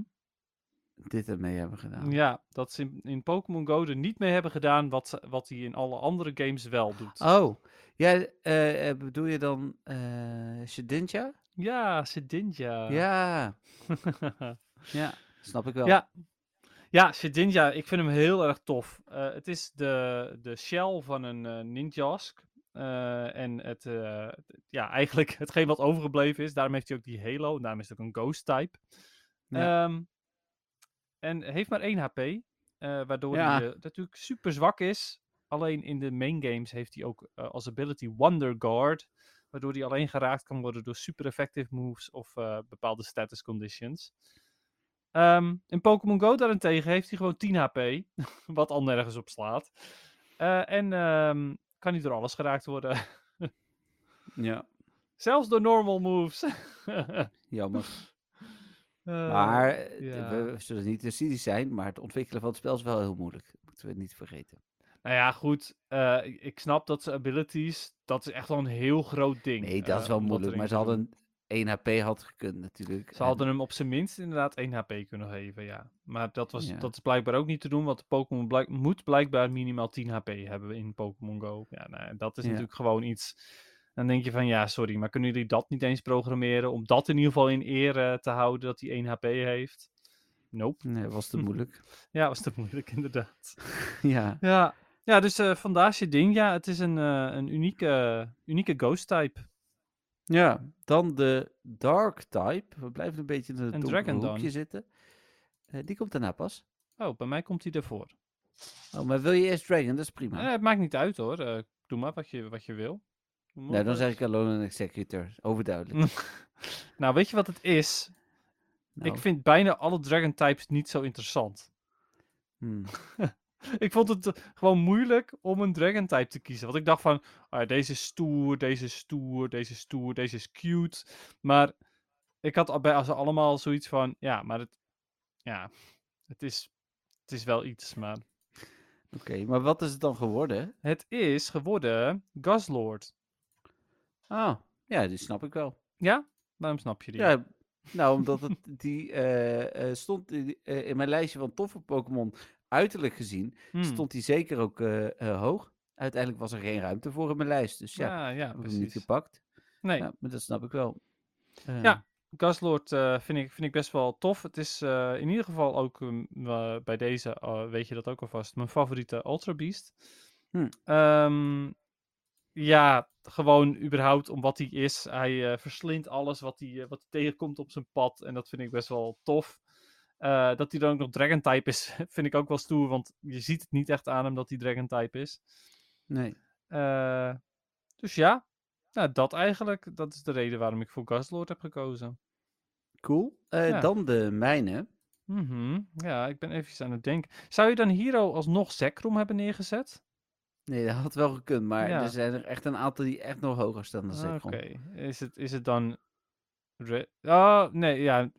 A: dit ermee hebben we gedaan.
B: Ja, dat ze in, in Pokémon Go er niet mee hebben gedaan wat, ze- wat hij in alle andere games wel doet.
A: Oh, ja, eh, eh, bedoel je dan eh Shedinja?
B: Ja, Sedinja.
A: Ja, ja, snap ik wel.
B: Ja. Ja, Shedinja, ik vind hem heel erg tof. Eh, het is de, de shell van een eh, Ninjask. Eh, en het, eh, het- ja, eigenlijk hetgeen wat overgebleven is. Daarom heeft hij ook die halo. en Daarom is het ook een ghost type.
A: Ja.
B: Ehm, en heeft maar 1 HP. eh, waardoor
A: Ja.
B: hij eh, natuurlijk super zwak is. Alleen in de main games heeft hij ook eh, als ability Wonder Guard. Waardoor hij alleen geraakt kan worden door super effective moves of eh, bepaalde status conditions. Ehm, in Pokémon Go daarentegen heeft hij gewoon 10 HP, wat al nergens op slaat. Eh, en ehm, kan hij door alles geraakt worden.
A: ja.
B: Zelfs door normal moves.
A: Jammer.
B: Eh,
A: Maar eh,
B: ja.
A: we zullen niet te cynisch zijn, maar het ontwikkelen van het spel is wel heel moeilijk. Moeten we niet vergeten.
B: Nou ja, goed. eh, ik- ik snap dat ze abilities, dat is echt wel een heel groot ding.
A: Nee, dat
B: eh,
A: is wel
B: om
A: moeilijk,
B: erin
A: maar ze
B: te doen.
A: hadden 1 HP had gekund natuurlijk.
B: Ze hadden hem op zijn minst inderdaad 1 HP kunnen geven, ja. Maar dat, was,
A: Ja.
B: dat is blijkbaar ook niet te doen, want de Pokémon blijk- moet blijkbaar minimaal 10 HP hebben in Pokémon Go. Ja, nou, en dat is
A: Ja.
B: natuurlijk gewoon iets... Dan denk je van, ja, sorry, maar kunnen jullie dat niet eens programmeren? Om dat in ieder geval in ere te houden, dat hij 1 HP heeft? Nope.
A: Nee, was te moeilijk.
B: Ja, was te moeilijk, inderdaad.
A: ja.
B: Ja, ja dus eh vandaar je ding. Ja, het is een, eh, een unieke, unieke ghost-type.
A: ja, dan de Dark Type. We blijven een beetje in het
B: En
A: donkere
B: Dragon
A: hoekje
B: dan?
A: zitten. Eh, die komt daarna pas.
B: Oh, bij mij komt hij ervoor.
A: Oh, maar wil je eerst Dragon? Dat is prima. Nou,
B: Eh, het maakt niet uit, hoor. Eh, doe maar wat je, wat je wil. Doe maar
A: nou,
B: wat
A: dan
B: je-
A: zeg ik Alone and Executor. Overduidelijk.
B: Mm, Nou, weet je wat het is?
A: Nou,
B: Ik vind bijna alle Dragon types niet zo interessant.
A: hmm.
B: Ik vond het eh, gewoon moeilijk om een Dragon type te kiezen. Want ik dacht van, ah, ja, deze is stoer, deze is stoer, deze is stoer, deze is cute. Maar ik had al bij ze allemaal zoiets van, ja, maar het, ja, het is, het is wel iets. Maar
A: Oké, maar wat is het dan geworden?
B: het is geworden Gaslord.
A: Ah, ja, die snap ik wel.
B: Ja? Waarom snap je die?
A: Ja, nou, omdat het, die eh, eh, stond in, eh, in mijn lijstje van toffe Pokémon uiterlijk gezien,
B: Hmm.
A: stond die zeker ook eh, eh, hoog. Uiteindelijk was er geen ruimte voor in mijn lijst, dus ja,
B: ja, ja,
A: heb ik hem niet
B: precies.
A: gepakt.
B: Nee,
A: Ja, maar dat snap ik wel. Eh,
B: Ja. Gaslord eh, vind, ik, vind ik best wel tof. Het is eh, in ieder geval ook mm, eh, bij deze, eh, weet je dat ook alvast, mijn favoriete Ultra Beast.
A: Hm.
B: Ehm, ja, gewoon überhaupt om wat hij is. Hij eh, verslindt alles wat hij, eh, wat hij tegenkomt op zijn pad. En dat vind ik best wel tof. Eh, dat hij dan ook nog Dragon-type is, vind ik ook wel stoer. Want je ziet het niet echt aan hem dat hij Dragon-type is.
A: Nee.
B: Eh, dus ja, nou, dat eigenlijk. Dat is de reden waarom ik voor Gaslord heb gekozen.
A: Cool. Eh,
B: Ja.
A: Dan de mijne.
B: Mhm, Ja, ik ben even aan het denken. Zou je dan Hero alsnog Zekrom hebben neergezet?
A: Nee, dat had wel gekund, maar
B: Ja.
A: er zijn er echt een aantal die echt nog hoger staan dan
B: Ah,
A: Zekrom.
B: Oké. Is, het, is het dan... Re- oh, nee, ja.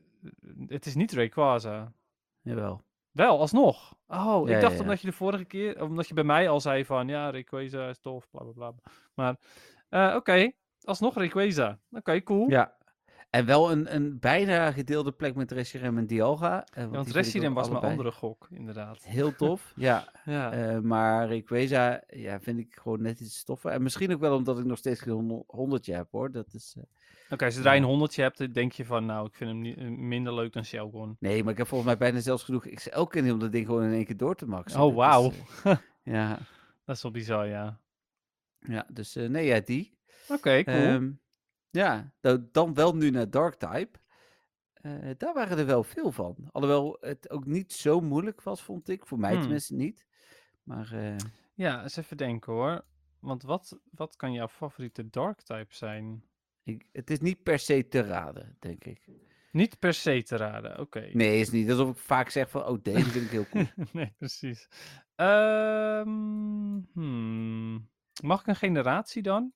B: Het is niet Rayquaza.
A: Jawel.
B: Wel, alsnog. Oh,
A: Ja,
B: ik dacht
A: ja, ja.
B: omdat je de vorige keer... Omdat je bij mij al zei van... Ja, Rayquaza is tof, bla, bla, bla. Maar, eh, oké. alsnog Rayquaza. Oké, cool.
A: Ja. En wel een, een bijna gedeelde plek met Reshiram en Dialga. eh, want
B: want
A: die vind ik
B: Reshiram
A: ook
B: was mijn
A: allebei
B: andere gok, inderdaad.
A: Heel tof, ja.
B: Ja.
A: Eh, maar Rayquaza ja, vind ik gewoon net iets toffer. En misschien ook wel omdat ik nog steeds geen hondel- honderdje heb hoor. Dat is, eh,
B: Oké, zodra je
A: Ja.
B: een honderdje hebt, denk je van, nou, ik vind hem niet, eh, minder leuk dan Shelgon.
A: Nee, maar ik heb volgens mij bijna zelfs genoeg XL kunnen om dat ding gewoon in één keer door te maxen.
B: Oh,
A: Dat
B: wauw.
A: is, eh, ja,
B: Dat is wel bizar, ja.
A: ja, dus eh, nee, ja, die.
B: Oké, cool.
A: Ehm, ja, nou, dan wel nu naar Dark Type. Eh, daar waren er wel veel van. Alhoewel het ook niet zo moeilijk was, vond ik. Voor mij
B: Hmm.
A: tenminste niet. Maar eh,
B: ja, eens even denken hoor. Want wat, wat kan jouw favoriete dark type zijn?
A: Ik, het is niet per se te raden, denk ik.
B: Niet per se te raden, oké.
A: Nee, is niet alsof ik vaak zeg van, oh, deze vind ik heel cool.
B: nee, precies. Ehm, hmm. Mag ik een generatie dan?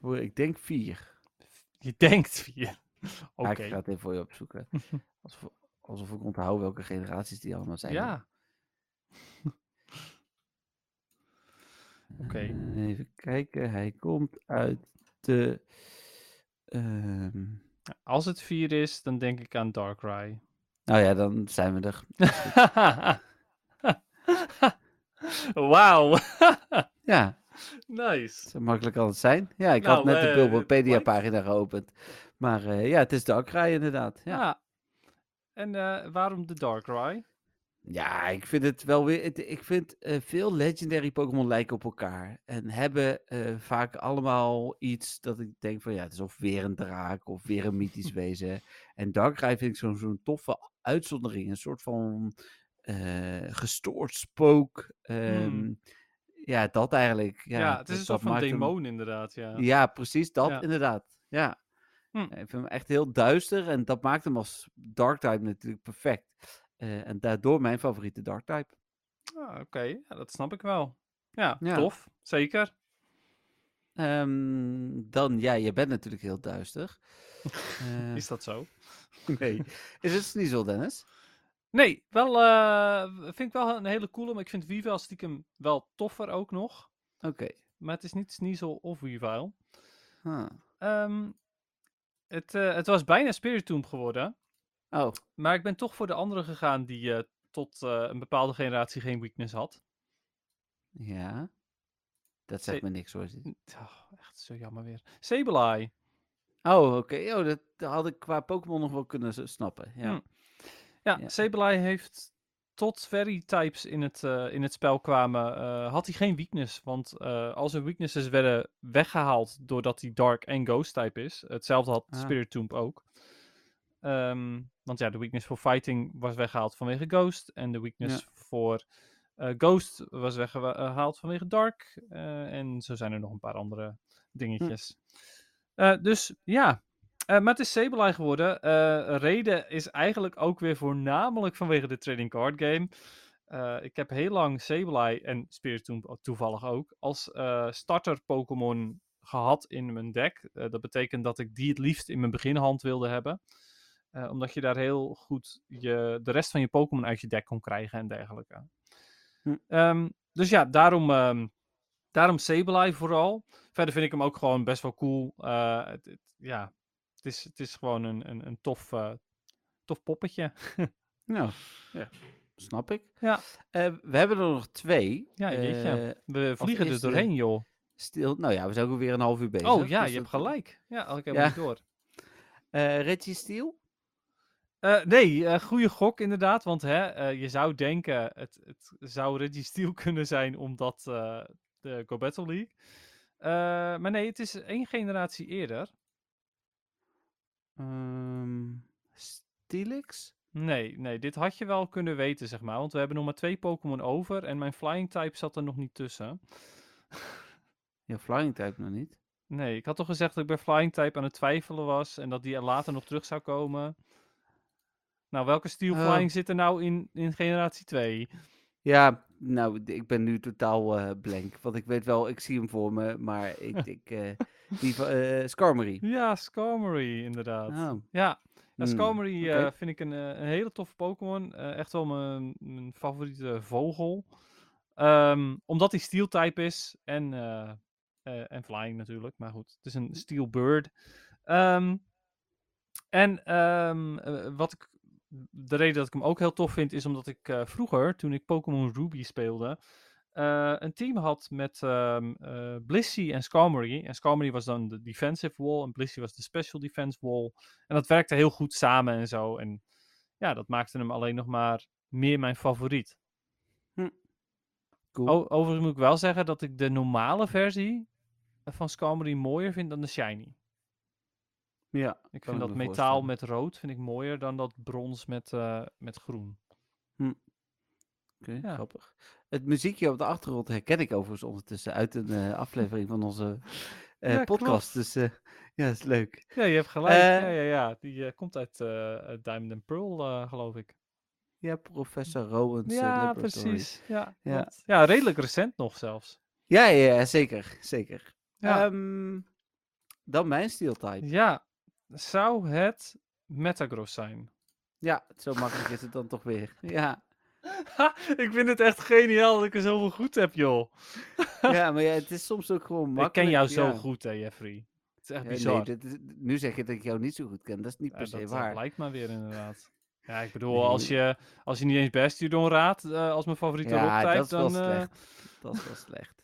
A: Voor- ik denk vier.
B: Je denkt vier. Oké.
A: Ja, Ik ga het even voor je opzoeken. Alsof, alsof ik onthoud welke generaties die allemaal zijn.
B: Ja. Oké.
A: Eh, even kijken, hij komt uit de... ehm,
B: Als het vier is, dan denk ik aan Darkrai.
A: nou ja, dan zijn we er.
B: Wauw.
A: Ja,
B: nice.
A: Zo makkelijk als het zijn. Ja, ik had
B: Nou,
A: net de
B: eh,
A: Bulbapedia-pagina geopend. Maar eh, ja, het is de Akrai inderdaad.
B: Ja.
A: Ja.
B: En eh, waarom de Darkrai?
A: ja, ik vind het wel weer... het- ik vind eh, veel legendary Pokémon lijken op elkaar. En hebben eh, vaak allemaal iets dat ik denk van... Ja, het is of weer een draak of weer een mythisch wezen. En Darkrai vind ik zo'n zo'n toffe uitzondering. Een soort van eh, gestoord spook. ehm, Ja, dat eigenlijk. Ja,
B: Hmm. Ja, het
A: dat-
B: is een
A: dat
B: soort van
A: maakt hem-
B: demon inderdaad, ja.
A: Ja, precies dat,
B: Ja.
A: inderdaad. Ja.
B: Hm.
A: Ja, Ik vind hem echt heel duister en dat maakt hem als Dark Type natuurlijk perfect. Eh, en daardoor mijn favoriete Dark Type.
B: Ah, Oké, ja, dat snap ik wel. Ja,
A: Ja.
B: tof. Zeker.
A: Ehm, dan, ja, je bent natuurlijk heel duister. Eh,
B: Is dat zo?
A: nee. Is het Sneasel, Dennis?
B: Nee, wel, eh, vind ik wel een hele coole, maar ik vind Weavile stiekem wel toffer ook nog.
A: Oké.
B: Maar het is niet Sneasel of Weavile.
A: Ah.
B: Ehm, het, eh, het was bijna Spiritomb geworden,
A: Oh,
B: maar ik ben toch voor de andere gegaan die eh, tot eh, een bepaalde generatie geen weakness had.
A: ja. Dat zegt me niks hoor.
B: N- oh, echt zo jammer weer. Sableye.
A: Oh, oké. Oh, dat had ik qua Pokémon nog wel kunnen s- snappen. Ja.
B: Hm. Ja,
A: Ja.
B: Sableye heeft tot Fairy types in het, eh, in het spel kwamen, eh, had hij geen weakness. Want eh, al zijn weaknesses werden weggehaald doordat hij Dark en Ghost type is. Hetzelfde had
A: Ah.
B: Spirit Tomb ook. Ehm, want ja, de weakness voor fighting was weggehaald vanwege Ghost. En de weakness voor eh, Ghost was weggehaald vanwege Dark. eh, en zo zijn er nog een paar andere dingetjes. Eh, dus ja, eh, maar het is Sableye geworden. Eh, reden is eigenlijk ook weer voornamelijk vanwege de trading card game. Eh, ik heb heel lang Sableye en Spiritomb o- toevallig ook als eh, starter Pokémon gehad in mijn deck. Eh, dat betekent dat ik die het liefst in mijn beginhand wilde hebben. Eh, omdat je daar heel goed je, de rest van je Pokémon uit je deck kon krijgen en dergelijke.
A: Hm.
B: Ehm, dus ja, daarom, ehm daarom Sableye vooral. Verder vind ik hem ook gewoon best wel cool. Eh, het- het- ja, het is, het is gewoon een, een, een tof, eh, tof poppetje.
A: Nou, ja. Snap ik.
B: Ja.
A: Eh, we hebben er nog twee.
B: Ja, jeetje.
A: Eh,
B: We vliegen er
A: eerste-
B: doorheen, joh.
A: Stil, nou ja, we zijn ook alweer een half uur bezig.
B: Oh ja,
A: dus
B: je hebt
A: dat-
B: gelijk. Ja, oké,
A: Ja.
B: helemaal niet door.
A: Eh, Reggie Steele?
B: Eh, nee, eh, goede gok inderdaad. Want hè, eh, je zou denken, het, het zou Reggie Steel kunnen zijn omdat eh, de Go Battle League. Eh, maar nee, het is één generatie eerder.
A: Ehm Steelix?
B: Nee, nee, dit had je wel kunnen weten, zeg maar. Want we hebben nog maar twee Pokémon over en mijn Flying type zat er nog niet tussen.
A: Ja, Flying Type nog niet.
B: Nee, ik had toch gezegd dat ik bij Flying Type aan het twijfelen was en dat die er later nog terug zou komen. Nou, welke Steel
A: Oh.
B: Flying zit er nou in, in generatie 2?
A: Ja, nou, d- ik ben nu totaal eh, blank. Want ik weet wel, ik zie hem voor me, maar ik... ik eh, die van, eh, Skarmory.
B: Ja, Skarmory, inderdaad.
A: Oh,
B: Ja, ja
A: hmm,
B: Skarmory
A: oké.
B: eh, vind ik een, eh, een hele toffe Pokémon. Eh, echt wel mijn, mijn favoriete vogel. Ehm, omdat hij steel type is en, eh, eh, en flying natuurlijk. Maar goed, het is een steel bird. Ehm, en ehm, eh, wat ik, de reden dat ik hem ook heel tof vind is omdat ik eh, vroeger, toen ik Pokémon Ruby speelde, eh, een team had met ehm eh, Blissey en Skarmory. En Skarmory was dan de defensive wall en Blissey was de special defense wall. En dat werkte heel goed samen en zo. En ja, dat maakte hem alleen nog maar meer mijn favoriet.
A: cool.
B: O- overigens moet ik wel zeggen dat ik de normale versie van Skarmory mooier vind dan de shiny.
A: ja.
B: Ik
A: Kan
B: vind
A: ik
B: dat
A: me
B: metaal
A: voorstellen.
B: met rood vind ik mooier dan dat brons met, eh, met groen.
A: Oké,
B: Ja.
A: grappig. Het muziekje op de achtergrond herken ik overigens ondertussen uit een eh, aflevering van onze eh,
B: Ja,
A: podcast. Dus eh, Ja, dat is leuk.
B: Ja, je hebt gelijk. ja,
A: Eh,
B: ja, ja. Die eh, komt uit eh, eh, Diamond and Pearl, eh, geloof ik.
A: Ja, professor Rowans. eh,
B: ja,
A: Laboratory.
B: precies. Ja,
A: Ja.
B: want- ja, redelijk recent nog zelfs.
A: Ja, ja, ja, zeker. zeker.
B: Ja.
A: Ehm, dan mijn steeltype.
B: Ja, zou het Metagross zijn?
A: Ja, zo makkelijk is het dan toch weer. Ja,
B: Ha, ik vind het echt geniaal dat ik er zoveel goed heb, joh.
A: ja maar ja, het is soms ook gewoon
B: Ik
A: makkelijk.
B: ken jou zo
A: ja.
B: goed, hè, Jeffrey. Het is echt
A: Ja,
B: bizar.
A: nee, dit is- nu zeg je dat ik jou niet zo goed ken. Dat is niet
B: Ja,
A: per
B: dat, eh,
A: se
B: dat
A: waar.
B: lijkt me weer inderdaad. Ja, ik bedoel, als je, als je niet eens Bastion raadt eh, als mijn favoriete
A: Ja,
B: rocktype,
A: dat is wel
B: dan... eh,
A: slecht. Dat is wel slecht.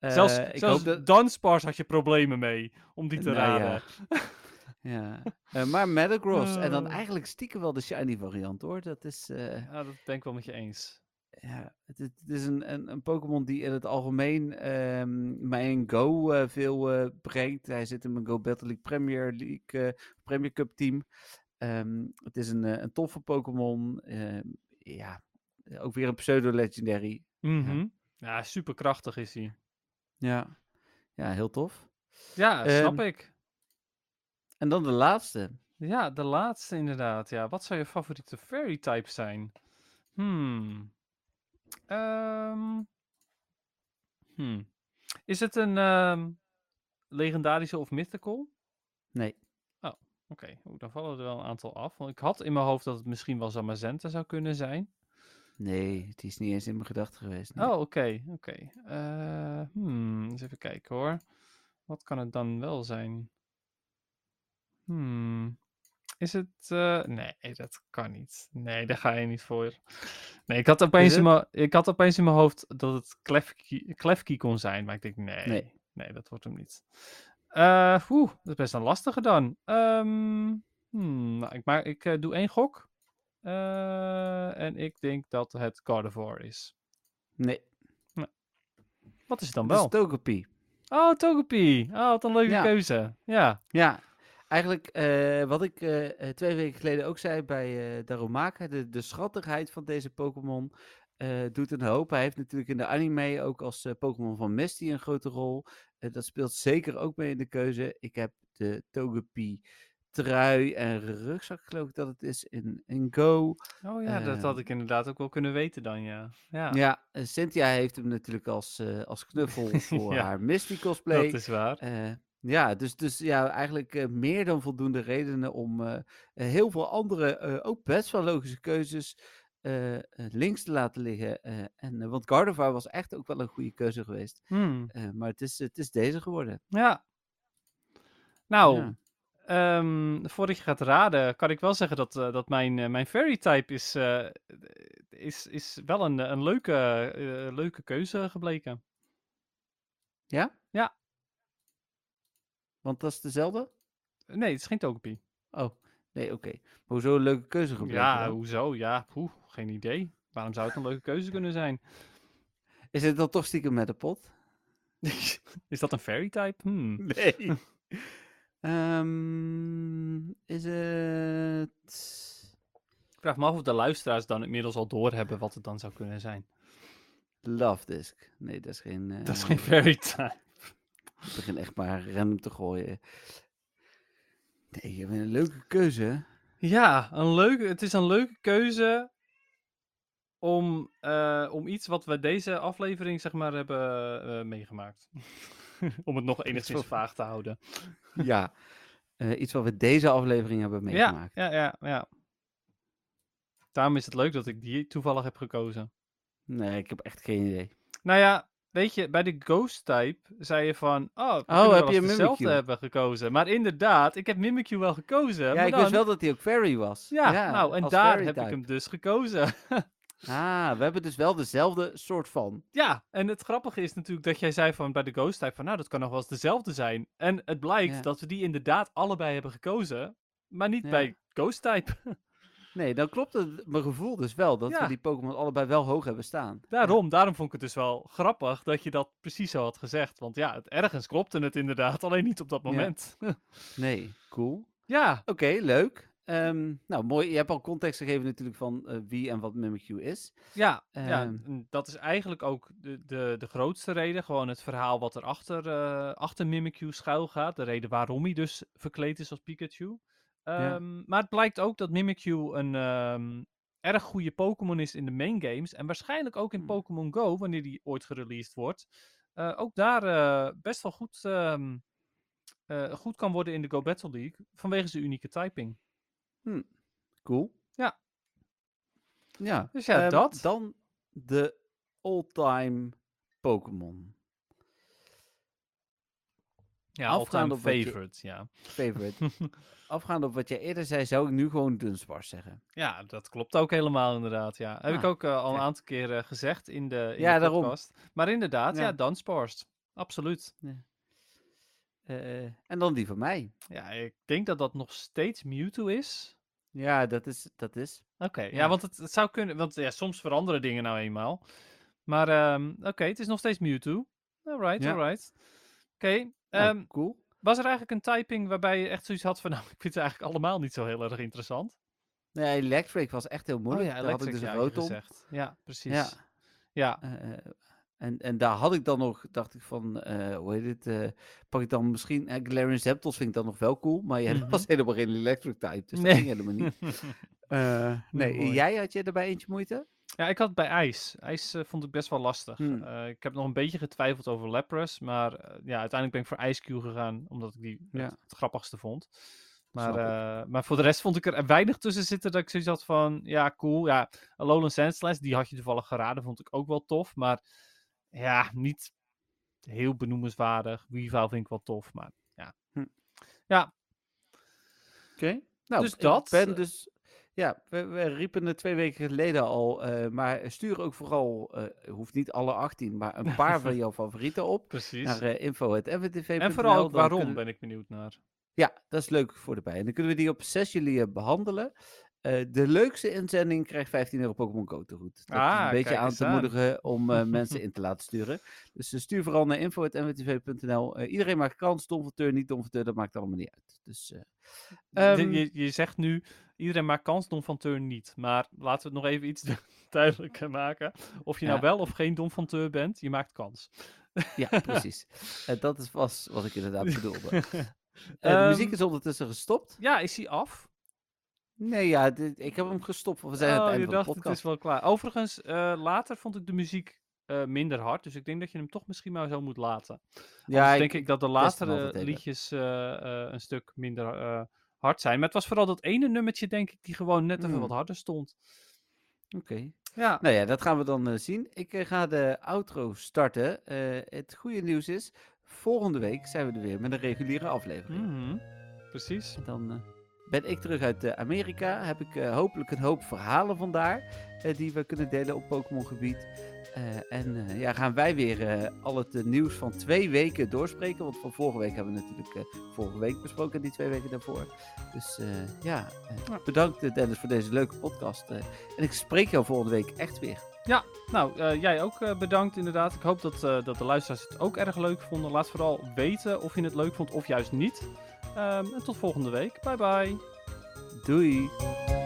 B: zelfs
A: Eh, ik
B: zelfs
A: hoop dat-
B: Danspars had je problemen mee om die te
A: Nou ja.
B: raden.
A: Ja. Eh, maar Metagross. En dan
B: Eh.
A: eigenlijk stiekem wel de shiny variant hoor. Dat is, eh,
B: Ja, dat ben ik wel met je eens.
A: ja, het, is- het is een, een, een Pokémon die in het algemeen ehm, mij in Go eh, veel eh, brengt. Hij zit in mijn Go Battle League Premier League eh, Premier Cup team. Ehm, het is een, eh, een toffe Pokémon. Ehm, ja, eh, ook weer een pseudo-legendary.
B: Mhm. Ja, superkrachtig is hij.
A: Ja. ja, heel tof.
B: Ja, snap
A: Ehm,
B: ik.
A: En dan de laatste.
B: Ja, de laatste inderdaad. Ja, wat zou je favoriete fairy type zijn? Hmm. Ehm. Hmm. Is het een ehm, legendarische of mythical?
A: Nee.
B: Oké, oeh, dan vallen er wel een aantal af. Want ik had in mijn hoofd dat het misschien wel Zamazenta zou kunnen zijn.
A: Nee, het is niet eens in mijn gedachten geweest. nee.
B: Oh, oké, oké. Eh, hmm, eens even kijken hoor. Wat kan het dan wel zijn? Hmm. Is het... eh, nee, dat kan niet. Nee, daar ga je niet voor. Nee, ik had opeens, in
A: het?
B: mijn, ik had opeens in mijn hoofd dat het Klefki, Klefki kon zijn. Maar ik denk, nee, nee,
A: Nee.
B: dat wordt hem niet. Eh, Oeh, dat is best een lastige dan. Ehm, hmm, nou, ik, maar ik eh, doe één gok. Eh, en ik denk dat het Gardevoir is.
A: Nee,
B: Wat is het dan
A: dat
B: wel?
A: is Togepi.
B: Oh, Togepi. Oh, wat een leuke
A: Ja.
B: keuze. Ja.
A: Ja, eigenlijk eh, wat ik eh, eh, twee weken geleden ook zei bij eh Darumaka, de, de schattigheid van deze Pokémon eh, doet een hoop. Hij heeft natuurlijk in de anime ook als eh, Pokémon van Misty een grote rol. Eh, dat speelt zeker ook mee in de keuze. Ik heb de Togepi trui en rugzak geloof ik dat het is in, in Go.
B: Oh ja, dat had
A: Ehm.
B: ik inderdaad ook wel kunnen weten dan, ja. Ja,
A: Ja, eh, Cynthia heeft hem natuurlijk als, eh, als knuffel voor
B: Ja,
A: haar Misty cosplay.
B: dat is waar.
A: Eh, ja, dus, dus ja, eigenlijk eh, meer dan voldoende redenen om eh, eh, heel veel andere, eh, ook best wel logische keuzes eh, eh, links te laten liggen. eh, en, eh, want Gardevoir was echt ook wel een goede keuze geweest.
B: Hmm,
A: Eh, maar het is, het is deze geworden.
B: Ja. Nou,
A: Ja.
B: ehm, voordat je gaat raden, kan ik wel zeggen dat, eh, dat mijn, eh, mijn fairy type is, eh, is, is wel een, eh, een leuke, eh, leuke keuze gebleken.
A: Ja?
B: Ja.
A: Want dat is dezelfde?
B: Nee, het is geen Togepi.
A: Oh, nee, oké. Maar hoezo een leuke keuze gebleken?
B: Ja,
A: dan?
B: hoezo? Ja, poeh, geen idee. Waarom zou het een leuke keuze kunnen zijn?
A: Is het dan toch stiekem met de pot?
B: is dat een fairy type? Hmm.
A: Nee. Ehm, is het...
B: Ik vraag me af of de luisteraars dan inmiddels al doorhebben wat het dan zou kunnen zijn.
A: Love Disc. Nee, dat is geen.
B: Dat is
A: eh,
B: geen fairy type.
A: Ik begin echt maar random te gooien. Nee, je bent een leuke keuze.
B: Ja, een leuke, het is een leuke keuze om, eh, om iets wat we deze aflevering zeg maar hebben eh, meegemaakt. om het nog enigszins
A: wat-
B: vaag te houden.
A: ja. Eh, iets wat we deze aflevering hebben
B: Ja,
A: meegemaakt.
B: ja, ja, ja. Daarom is het leuk dat ik die toevallig heb gekozen.
A: Nee, ik heb echt geen idee.
B: Nou ja, weet je, bij de ghost type zei je van, oh, we kunnen
A: heb
B: wel eens
A: je
B: dezelfde
A: Mimikyu?
B: hebben gekozen. Maar inderdaad, ik heb Mimikyu wel gekozen.
A: Ja,
B: maar
A: ik
B: dan-
A: wist wel dat hij ook fairy was.
B: Ja, nou, en
A: als
B: daar
A: fairy
B: heb ik
A: type.
B: hem dus gekozen.
A: Ah, we hebben dus wel dezelfde soort van.
B: ja, en het grappige is natuurlijk dat jij zei van bij de Ghost Type van nou, dat kan nog wel eens dezelfde zijn. En het blijkt
A: Ja.
B: dat we die inderdaad allebei hebben gekozen, maar niet
A: Ja.
B: bij Ghost Type.
A: Nee, dan klopt het, mijn gevoel dus wel dat
B: Ja.
A: we die Pokémon allebei wel hoog hebben staan.
B: Daarom, daarom vond ik het dus wel grappig dat je dat precies zo had gezegd. Want ja, het, ergens klopte het inderdaad, alleen niet op dat
A: Ja.
B: moment. Ja,
A: Nee, cool.
B: ja.
A: Oké, leuk. Ehm, nou, mooi. Je hebt al context gegeven natuurlijk van eh, wie en wat Mimikyu is.
B: Ja, ja,
A: Ehm.
B: en dat is eigenlijk ook de, de, de grootste reden. Gewoon het verhaal wat er achter, eh, achter Mimikyu schuil gaat. De reden waarom hij dus verkleed is als Pikachu.
A: Ja.
B: Ehm, Maar het blijkt ook dat Mimikyu een ehm, erg goede Pokémon is in de main games. En waarschijnlijk ook in
A: Hmm.
B: Pokémon Go, wanneer die ooit gereleased wordt. eh, ook daar eh, best wel goed, ehm, eh, goed kan worden in de Go Battle League. Vanwege zijn unieke typing.
A: Cool.
B: Ja.
A: Ja.
B: Dus ja,
A: Ehm,
B: dat.
A: Dan de all-time Pokémon
B: Ja, all-time
A: afgaand op wat je-
B: favorite. Ja.
A: favorite. Afgaand op wat jij eerder zei, zou ik nu gewoon Dunsparce zeggen.
B: Ja, dat klopt ook helemaal inderdaad. Ja. Heb ik
A: Ah,
B: ook eh, al een
A: kijk.
B: aantal keer eh, gezegd in de, in
A: Ja,
B: de
A: daarom.
B: podcast. Maar inderdaad, ja,
A: Ja.
B: Dansporst. Absoluut.
A: Eh, en dan die van mij.
B: Ja, ik denk dat dat nog steeds Mewtwo is.
A: Ja, dat is. Dat is.
B: Oké, ja.
A: Ja.
B: want het, het zou kunnen, want ja, soms veranderen dingen nou eenmaal. Maar ehm, oké, het is nog steeds Mewtwo. Alright,
A: Ja.
B: alright. Oké,
A: Nou,
B: ehm,
A: cool.
B: was er eigenlijk een typing waarbij je echt zoiets had van, nou, ik vind ze eigenlijk allemaal niet zo heel erg interessant. Oh
A: Nee, Electric was echt heel moeilijk. Daar had ik dus
B: ja,
A: een
B: had je
A: rood om.
B: gezegd. Ja, precies.
A: Ja.
B: Ja. Ja,
A: Eh, eh, en, en daar had ik dan nog, dacht ik van, eh, hoe heet het, eh, pak ik dan misschien, eh, Galarian Zapdos vind ik dan nog wel cool, maar jij
B: Mhm.
A: was helemaal geen electric type, dus
B: Nee.
A: dat ging helemaal niet. Eh, nee,
B: mooi.
A: jij had je erbij eentje moeite?
B: Ja, ik had het bij ijs. Ijs eh, vond ik best wel lastig.
A: Hmm.
B: Eh, ik heb nog een beetje getwijfeld over Lapras, maar eh, ja, uiteindelijk ben ik voor Ice Cube gegaan, omdat ik die
A: Ja.
B: het, het grappigste vond. Maar,
A: Snap ik.
B: eh, maar voor de rest vond ik er weinig tussen zitten dat ik zoiets had van, ja, cool. Ja, Alolan Sandslash, die had je toevallig geraden, vond ik ook wel tof, maar ja, niet heel benoemenswaardig. Weavile vind ik wel tof, maar ja.
A: Hm.
B: Ja,
A: Oké. Nou,
B: Dus
A: ik
B: dat,
A: ben
B: eh.
A: dus, ja, we, we riepen het twee weken geleden al, eh, maar stuur ook vooral, eh, hoeft niet alle 18, maar een paar van jouw favorieten op.
B: precies.
A: Naar eh info.mwtv.nl.
B: en vooral ook
A: dan
B: waarom
A: kunnen-
B: ben ik benieuwd naar.
A: Ja, dat is leuk voor de bij. En dan kunnen we die op 6 juli eh, behandelen. Eh, de leukste inzending krijgt 15 euro Pokémon Go te goed. Dat is
B: Ah,
A: een beetje
B: kijk
A: aan
B: eens
A: te
B: aan.
A: moedigen om eh, mensen in te laten sturen. Dus eh, stuur vooral naar info.mwtv.nl. Eh, iedereen maakt kans. Tom van Teur, niet Tom van Teur, dat maakt allemaal niet uit. Dus eh,
B: Je-
A: Ehm,
B: je, je zegt nu, iedereen maakt kans, Don van Teur niet. Maar laten we het nog even iets duidelijker maken. Of je nou
A: Ja.
B: wel of geen Don van Teur bent, je maakt kans.
A: ja, precies. Eh, dat is was wat ik inderdaad bedoelde. Eh, de
B: Ehm,
A: muziek is ondertussen gestopt.
B: Ja, is hij af?
A: Nee, ja, dit- ik heb hem gestopt. want We zijn aan
B: oh,
A: Eh, het
B: je
A: einde van
B: dacht,
A: de
B: het is
A: podcast.
B: wel klaar. Overigens, eh, later vond ik de muziek eh, minder hard. Dus ik denk dat je hem toch misschien maar zo moet laten.
A: Ja,
B: dus
A: ik-
B: denk ik dat de
A: test hem
B: latere
A: altijd even.
B: liedjes eh, eh, een stuk minder eh, hard zijn. Maar het was vooral dat ene nummertje, denk ik, die gewoon net even
A: Hmm.
B: wat harder stond.
A: Oké.
B: Ja,
A: Nou ja, dat gaan we dan eh, zien. Ik eh, ga de outro starten. Eh, het goede nieuws is, volgende week zijn we er weer met een reguliere aflevering.
B: mhm, precies.
A: Dan eh, ben ik terug uit eh, Amerika. Heb ik eh, hopelijk een hoop verhalen vandaar eh, die we kunnen delen op Pokémon gebied. Eh, en eh, ja, gaan wij weer eh, al het eh, nieuws van twee weken doorspreken. Want van vorige week hebben we natuurlijk eh, vorige week besproken en die twee weken daarvoor. Dus eh, ja, eh,
B: Ja.
A: bedankt eh, Dennis voor deze leuke podcast. eh. en ik spreek jou volgende week echt weer.
B: Nou, eh, jij ook eh, bedankt inderdaad. Ik hoop dat, eh, dat de luisteraars het ook erg leuk vonden. Laat vooral weten of je het leuk vond of juist niet. Ehm, en tot volgende week. Bye bye.
A: Doei!